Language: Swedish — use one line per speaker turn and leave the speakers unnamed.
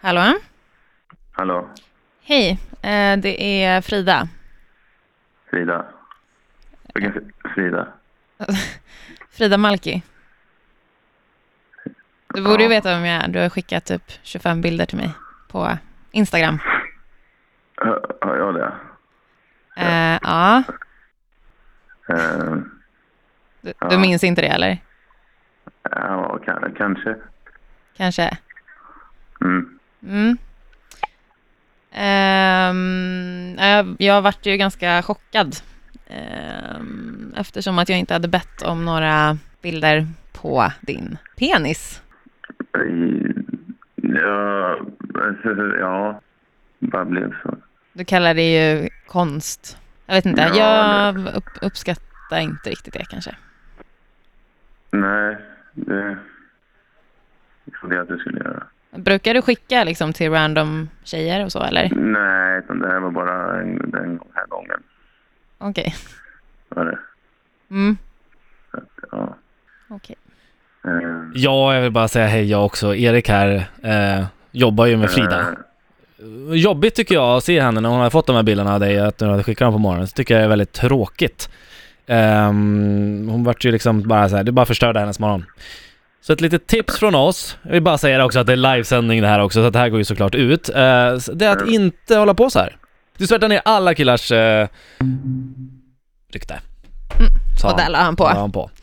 Hallå?
Hallå,
Hej, eh, det är Frida.
Frida. Vilken Fri- Frida?
Frida Malki. Du borde
Ja.
ju veta vem jag är. Du har skickat typ 25 bilder till mig på Instagram.
Hör, hör jag det?
Eh, ja,
Eh,
du, du minns inte det eller?
ja, kan, kanske.
Kanske?
Mm.
Mm. Ehm, ja, jag, jag vart ju ganska chockad. Ehm, eftersom att jag inte hade bett om några bilder på din penis.
I- Ja, ja, bara blev så.
Du kallar det ju konst. Jag vet inte,
Ja,
jag upp, uppskattar inte riktigt det kanske.
Nej, det trodde jag att du skulle göra.
Brukar du skicka liksom till random tjejer och så eller?
Mm. Nej, utan det här var bara en, den här gången.
Okej.
Var det?
Mm,
Så att, ja.
okej.
Eh,
Ja, jag vill bara säga hej jag också. Erik här eh, jobbar ju med Frida.
eh,
Jobbigt tycker jag att se henne när hon har fått de här bilderna av dig, att du hade skickat dem på morgonen. Så tycker jag det är väldigt tråkigt. Ehm, hon vart ju liksom bara så här, det bara förstörde hennes morgon. Så ett litet tips från oss, jag vill bara säga det också att det är livesändning det här också, så att det här går ju såklart ut. Eh, så det är att inte hålla på så här. Du svärtar ner alla killars eh, rykte. Sa
Mm. Och där la han på.
la han på.